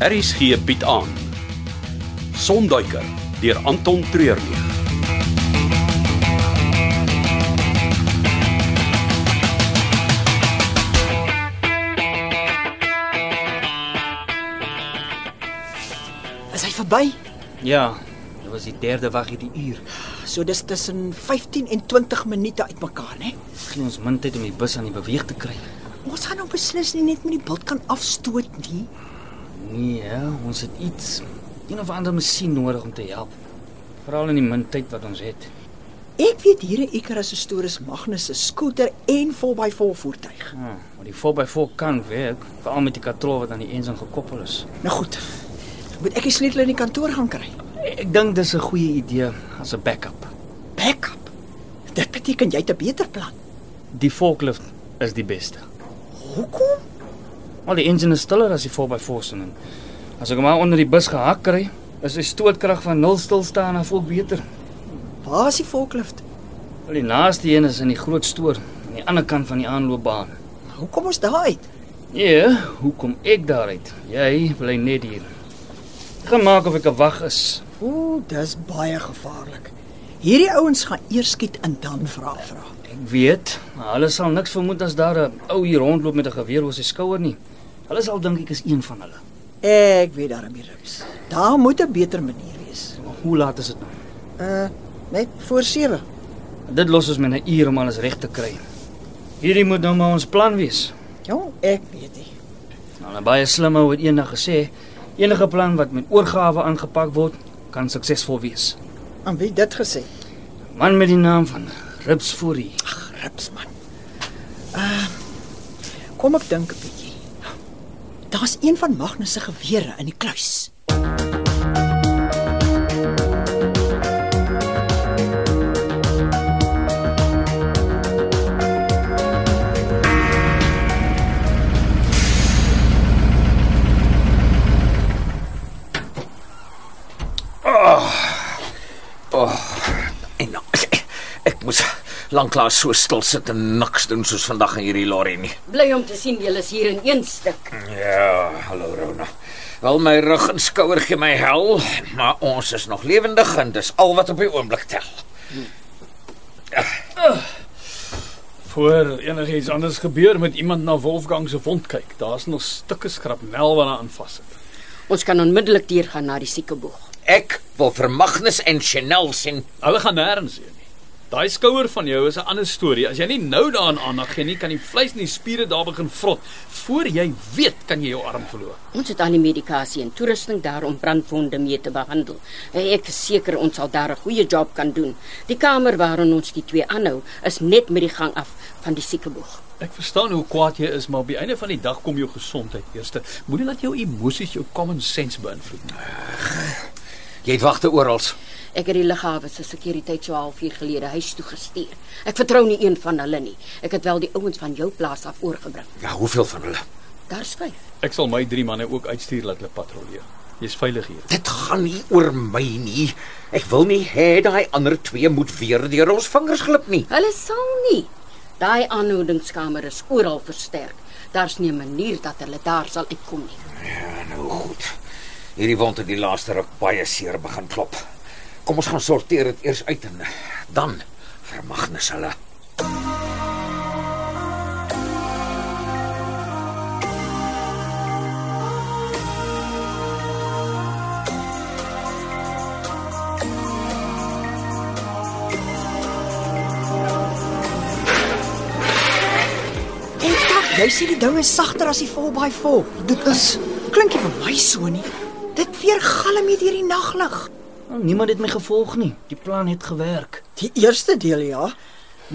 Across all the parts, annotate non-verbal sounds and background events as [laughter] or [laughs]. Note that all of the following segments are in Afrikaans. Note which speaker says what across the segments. Speaker 1: Harris gee bied aan. Sonduiker deur Anton Treurnig.
Speaker 2: Is hy verby?
Speaker 3: Ja, dit was die derde wag hierdie uur.
Speaker 2: So dis tussen 15 en 20 minute uitmekaar, né?
Speaker 3: Gee ons min tyd om die bus aan die beweeg te kry.
Speaker 2: Ons gaan nou beslis nie net met die bult kan afstoot nie.
Speaker 3: Nee, hè, ons het iets een of ander masjien nodig om te help. Veral in die min tyd wat ons het.
Speaker 2: Ek weet hier 'n Icarus se Storus Magnus se skooter en 4x4 voertuig.
Speaker 3: Ah, maar die 4x4 kan werk, veral met die katrol wat aan die enjin gekoppel is.
Speaker 2: Nou goed. Moet ek die sleutel in die kantoor gaan kry?
Speaker 3: Ek dink dis 'n goeie idee as 'n backup.
Speaker 2: Backup. Dit beteken jy het 'n beter plan.
Speaker 3: Die forklift is die beste.
Speaker 2: Hoekom?
Speaker 3: Al die enjin is stiller as die 4x4 se en as ek hom maar onder die bus gehak kry, is die stootkrag van nul stil staan en voel beter.
Speaker 2: Waar is die volklift?
Speaker 3: Al die naaste een is in die groot stoor aan die ander kant van die aanloopbaan.
Speaker 2: Hoekom ons daar uit?
Speaker 3: Nee, hoekom ek daar uit? Jy bly net hier. Gaan maak of ek 'n wag is.
Speaker 2: Ooh, dis baie gevaarlik. Hierdie ouens gaan eers skiet en dan vra vra.
Speaker 3: Ek weet, maar hulle sal niks vermoed as daar 'n ou hier rondloop met 'n geweer oor sy skouer nie. Hulle sal dink ek is een van hulle.
Speaker 2: Ek weet daarom nie rips. Daar moet 'n beter manier wees.
Speaker 3: Maar hoe laat is dit nou?
Speaker 2: Uh, net voor 7.
Speaker 3: Dit los ons met 'n uur om alles reg te kry. Hierdie moet nou maar ons plan wees.
Speaker 2: Ja, ek weet nie.
Speaker 3: Nou, 'n baie slimme ou het eendag gesê, enige plan wat met oorgawe aangepak word, kan suksesvol wees.
Speaker 2: Aan wie dit gesê?
Speaker 3: Man met die naam van Rips Fourie.
Speaker 2: Ag, rips man. Uh, kom ek dink 'n bietjie. Daar's een van Magnus se gewere in die kluis.
Speaker 4: En nou, ek, ek moes lanklaas so stil sit en niks doen soos vandag in hierdie lorry nie.
Speaker 5: Bly om te sien julle is hier in een stuk.
Speaker 4: Ja, hallo Rona. Wel my rug en skouer gee my hel, maar ons is nog lewendig en dis al wat op die oomblik tel.
Speaker 6: Voor enigiets anders gebeur met iemand na Wolfgang se wond kyk. Daar's nog stukke skrapnel wat daaraan vassit.
Speaker 5: Ons kan onmiddellik deurgaan na die siekeboeg.
Speaker 4: Ek wil vir Magnus en Chanel sien.
Speaker 6: Hulle gaan nêrens heen nie. Daai skouer van jou is 'n ander storie. As jy nie nou daaraan aandag gee nie, kan die vleis en die spiere daar begin vrot. Voor jy weet, kan jy jou arm verloor.
Speaker 5: Ons het al die medikasie en toerusting daar om brandwonde mee te behandel. En Ek is seker ons sal daar 'n goeie job kan doen. Die kamer waarin ons die twee aanhou, is net met die gang af van die siekeboeg.
Speaker 6: Ek verstaan hoe kwaad jy is, maar op die einde van die dag kom jou gesondheid eerste. Moenie laat jou emosies jou common sense beïnvloed nie.
Speaker 4: Jy het wagte oral.
Speaker 5: Ek het die lughawe se sekuriteit so halfuur gelede huis toe gestuur. Ek vertrou nie een van hulle nie. Ek het wel die ouens van jou plaas af oorgebring.
Speaker 4: Ja, hoeveel van hulle?
Speaker 5: Daar skuif.
Speaker 6: Ek sal my drie manne ook uitstuur dat hulle patrolleer. Jy's veilig hier.
Speaker 4: Dit gaan nie oor my nie. Ek wil nie hê daai ander twee moet weer deur ons vingers glip nie.
Speaker 5: Hulle sal nie. Daai aanhoudingskamer is oral versterk. Daar's nie 'n manier dat hulle daar sal uitkom nie.
Speaker 4: Ja, nou goed. Hierdie wond het die laaste ruk baie seer begin klop. Kom ons gaan sorteer dit eers uit en eh, dan vermagnes hulle.
Speaker 2: Ek dink jy sê die ding is sagter as die 4x4. Dit is klink nie vir my so nie. Dit weer galm hier deur die naglig.
Speaker 3: Nou, niemand het my gevolg nie. Die plan het gewerk.
Speaker 2: Die eerste deel ja.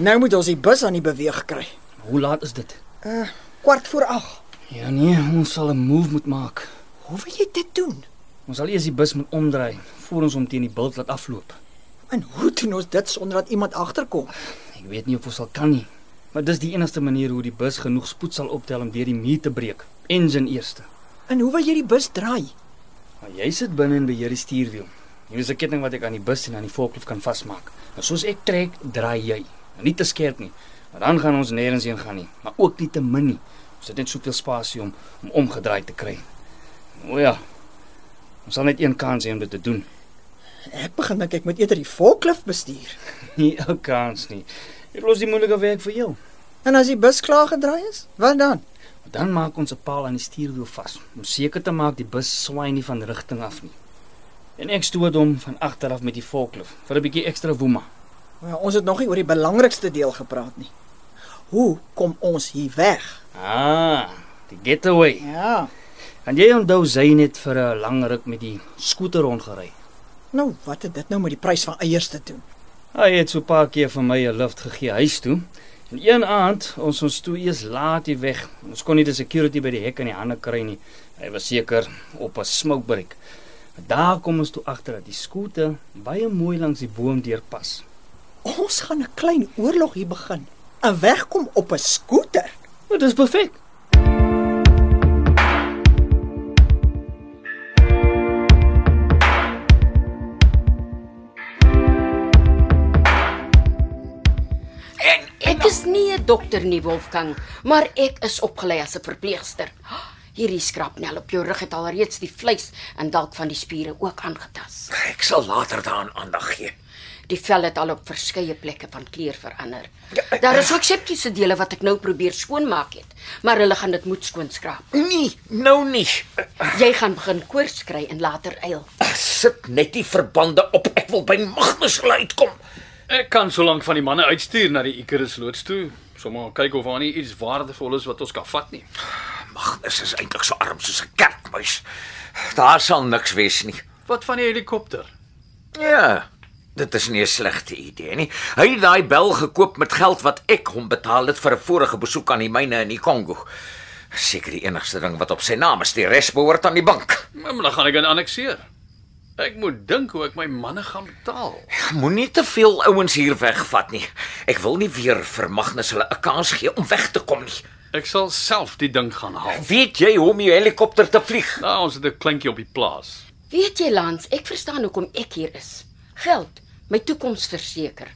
Speaker 2: Nou moet ons die bus aan die beweeg kry.
Speaker 3: Hoe laat is dit?
Speaker 2: Uh, kwart voor 8.
Speaker 3: Ja nee, ons sal 'n move moet maak.
Speaker 2: Hoe wil jy dit doen?
Speaker 3: Ons sal eers die bus moet omdraai voor ons hom teen die bult laat afloop.
Speaker 2: En hoe doen ons dit sonder dat iemand agterkom?
Speaker 3: Ek weet nie of ons sal kan nie, maar dis die enigste manier hoe die bus genoeg spoed sal optel om deur die muur te breek. Engine eerste.
Speaker 2: En hoe wil jy die bus draai?
Speaker 3: Maar jy sit binne en beheer die stuurwiel. Hier is 'n ketting wat ek aan die bus en aan die voorklif kan vasmaak. Nou soos ek trek, draai jy. Nou, nie te skerp nie, want dan gaan ons nêrens heen gaan nie, maar ook nie te min nie. Ons het net soveel spasie om om omgedraai te kry. O ja, Ons sal net een kans hê om dit te doen. [laughs]
Speaker 2: Ek begin dink ek moet eerder die volklif bestuur.
Speaker 3: Nie 'n kans nie. Dit los die moeilike werk vir jou.
Speaker 2: En as die bus klaar gedraai is, wat dan?
Speaker 3: Dan maak ons 'n paal aan die stuurwiel vas om seker te maak die bus swaai nie van rigting af nie. En ek stoot hom van agter af met die volklif vir 'n bietjie ekstra woema.
Speaker 2: Wel, Ja, ons het nog nie oor die belangrikste deel gepraat nie. Hoe kom ons hier weg?
Speaker 3: Ah, die getaway.
Speaker 2: Ja.
Speaker 3: En jy onthou sy net vir 'n lang ruk met die skooter rondgery.
Speaker 2: Nou, wat het dit nou met die prys van eiers te doen?
Speaker 3: Hy het so 'n paar keer vir my 'n lift gegee huis toe. En een aand, ons ons toe eers laat hier weg. Ons kon nie die security by die hek in die hande kry nie. Hy was seker op 'n smoke break. Daar kom ons toe agter dat die skooter baie mooi langs die boom deurpas.
Speaker 2: Ons gaan 'n klein oorlog hier begin. 'n Wegkom op 'n skooter.
Speaker 3: Maar dis perfek.
Speaker 5: Ek is nie 'n dokter nie, Wolfgang, maar ek is opgelei as 'n verpleegster. Hierdie skrapnel op jou rug het alreeds die vleis en dalk van die spiere ook aangetast.
Speaker 4: Ek sal later daaraan aandag gee.
Speaker 5: Die vel het al op verskeie plekke van kleur verander. Daar is ook septiese dele wat ek nou probeer skoonmaak het, maar hulle gaan dit moet skoonskraap.
Speaker 4: Nee, nou nie.
Speaker 5: Jy gaan begin koors kry en later eil.
Speaker 4: Ek Eh, sit net die verbande op. Ek wil by Magnus wil uitkom.
Speaker 6: Ek kan solank van die manne uitstuur na die Icarus loods toe, sommer kyk of daar nie iets waardevol is wat ons kan vat nie.
Speaker 4: Magnus is eintlik so arm soos 'n kerkmuis. Daar sal niks wees nie.
Speaker 6: Wat van die helikopter?
Speaker 4: Ja. Dit is nie 'n slegte idee nie. Hy het daai bel gekoop met geld wat ek hom betaal het vir 'n vorige besoek aan die myne in die Kongo. Seker die enigste ding wat op sy naam is, die res behoort aan die bank.
Speaker 6: Maar dan gaan ek dit annexeer. Ek moet dink hoe ek my manne gaan betaal.
Speaker 4: Moenie te veel ouens hier wegvat nie. Ek wil nie weer vir Magnus hulle 'n kans gee om weg te kom nie.
Speaker 6: Ek sal self die ding gaan haal.
Speaker 4: Weet jy hoe om 'n helikopter te vlieg?
Speaker 6: Nou ons het 'n kleintjie op die plaas.
Speaker 5: Weet jy, Lans, ek verstaan hoekom ek hier is. Geld, my toekoms verseker.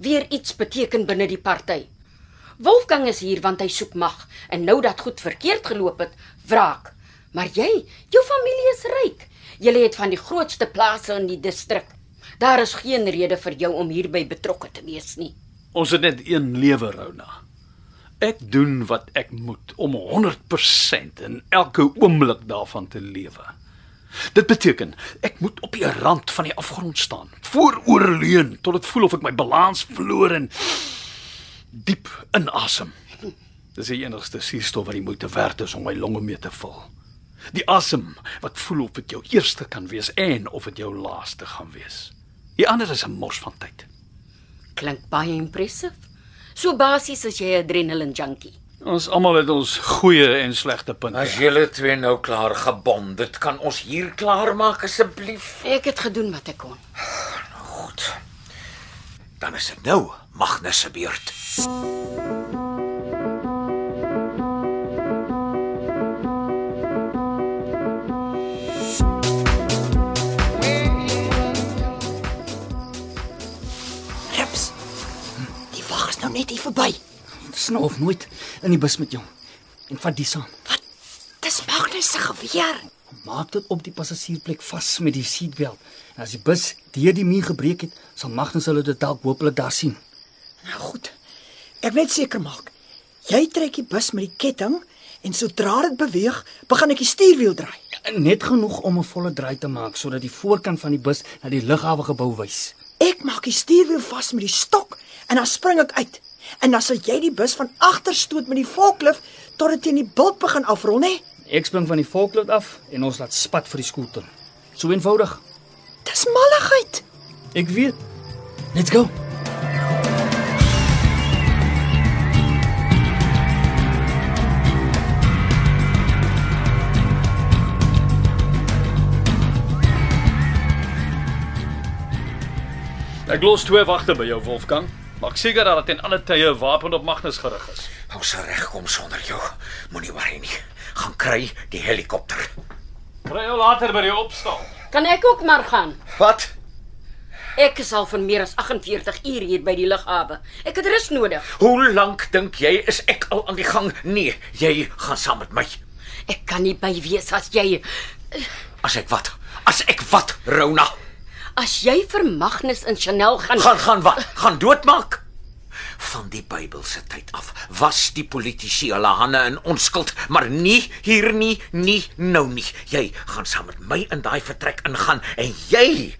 Speaker 5: Weer iets beteken binne die party. Wolfgang is hier want hy soek mag en nou dat goed verkeerd geloop het, wraak. Maar jy, jou familie is ryk. Julle het van die grootste plase in die distrik. Daar is geen rede vir jou om hierby betrokke te wees nie.
Speaker 6: Ons het net een lewe, Rona. Ek doen wat ek moet om 100% in elke oomblik daarvan te lewe. Dit beteken ek moet op die rand van die afgrond staan, vooroorleun tot dit voel of ek my balans verloor en diep inasem. Dis die enigste suurstof wat die moeite werd is om my longe mee te vul. Die asem wat voel of dit jou eerste kan wees en of dit jou laaste gaan wees. Die ander is 'n mors van tyd.
Speaker 5: Klink baie impressief. So basies as jy 'n adrenaline junkie.
Speaker 6: Ons almal het ons goeie en slegte punte.
Speaker 4: As julle twee nou klaar gebond, dit kan ons hier klaar maak asseblief.
Speaker 5: Ek het gedoen wat ek kon.
Speaker 4: Goed. Dan is dit nou Magnus se beurt.
Speaker 2: Rips. Die wag is nou net hier verby.
Speaker 3: Dis nou of nooit in die bus met jou. En vat die saam.
Speaker 2: Dis Magnus se geweer.
Speaker 3: Maak dit op die passasiersplek vas met die seatbelt. En as die bus deur die muur gebreek het, sal Magnus hulle dit dalk hopelik daar sien.
Speaker 2: Nou goed. Ek wil net seker maak. Jy trek die bus met die ketting en sodra dit beweeg, begin ek die stuurwiel draai.
Speaker 3: Net genoeg om 'n volle draai te maak sodat die voorkant van die bus na die lughawe gebou wys.
Speaker 2: Ek maak die stuurwiel vas met die stok en dan spring ek uit. En dan sal jy die bus van agter stoot met die volklif tot dit teen die bult begin afrol, né?
Speaker 3: Ek spring van die volklot af en ons laat spat vir die skooter. So eenvoudig.
Speaker 2: Dis malligheid.
Speaker 3: Ek weet. Let's go.
Speaker 6: Ek los twee wagte by jou Wolfgang. Maak seker dat dit ten alle tye 'n wapen op Magnus gerig is.
Speaker 4: Ons sal regkom sonder jou. Moenie worry nie. Gaan kry die helikopter.
Speaker 6: Kry jou later by die opstal.
Speaker 5: Kan ek ook maar gaan?
Speaker 4: Wat?
Speaker 5: Ek is al van meer as 48 uur hier by die lughawe. Ek het rus nodig.
Speaker 4: Hoe lank dink jy is ek al aan die gang? Nee, jy gaan saam met my.
Speaker 5: Ek kan nie by wees as jy
Speaker 4: As ek wat? As ek wat, Rona?
Speaker 5: As jy vir Magnus en Chanel gaan
Speaker 4: Gaan gaan wat? Gaan doodmaak? Van die Bybelse tyd af was die politici hulle hande in onskuld, maar nie hier nie, nie nou nie. Jy gaan saam met my in daai vertrek ingaan en jy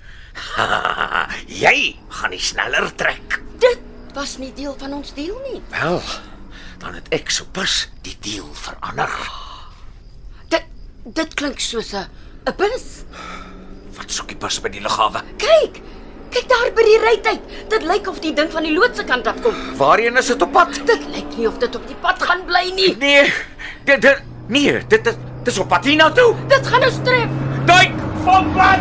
Speaker 4: [laughs] jy gaan nie sneller trek.
Speaker 5: dit was nie deel van ons deal nie.
Speaker 4: Wel, dan het ek sopas die deal verander.
Speaker 5: Dit dit klink soos 'n 'n bus.
Speaker 4: Wat soek die bus by die lughawe?
Speaker 5: Kyk. Kyk daar by die rytyd. Dit lyk of die ding van die loodse kant af kom.
Speaker 4: Waarheen is dit op pad?
Speaker 5: Dit lyk nie of dit op die pad gaan bly nie.
Speaker 4: Nee, dit dit nee, dit dit dis op pad hiernatoe.
Speaker 5: Dit gaan ons tref.
Speaker 4: Duik van pad.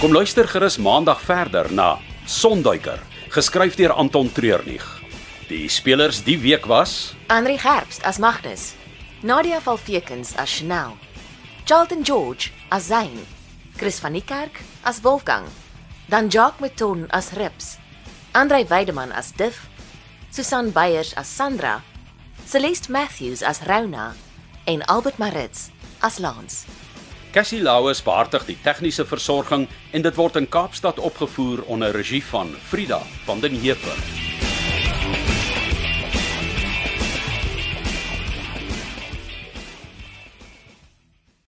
Speaker 1: Kom luister gerus maandag verder na Sonduiker, geskryf deur Anton Treurnig. Die spelers die week was
Speaker 7: Andri Gerbst as Magnus, Nadia Valfekens as Chanel, Charlton George as Zain, Chris van die Kerk as Wolfgang, dan Jacques Meton as Rips, Andrei Weideman as Diff, Susan Beyers as Sandra, Celeste Matthews as Rona en Albert Maritz as Lance.
Speaker 1: Cassie Lauers behartig die tegniese versorging en dit word in Kaapstad opgevoer onder regie van Frida van den Heever.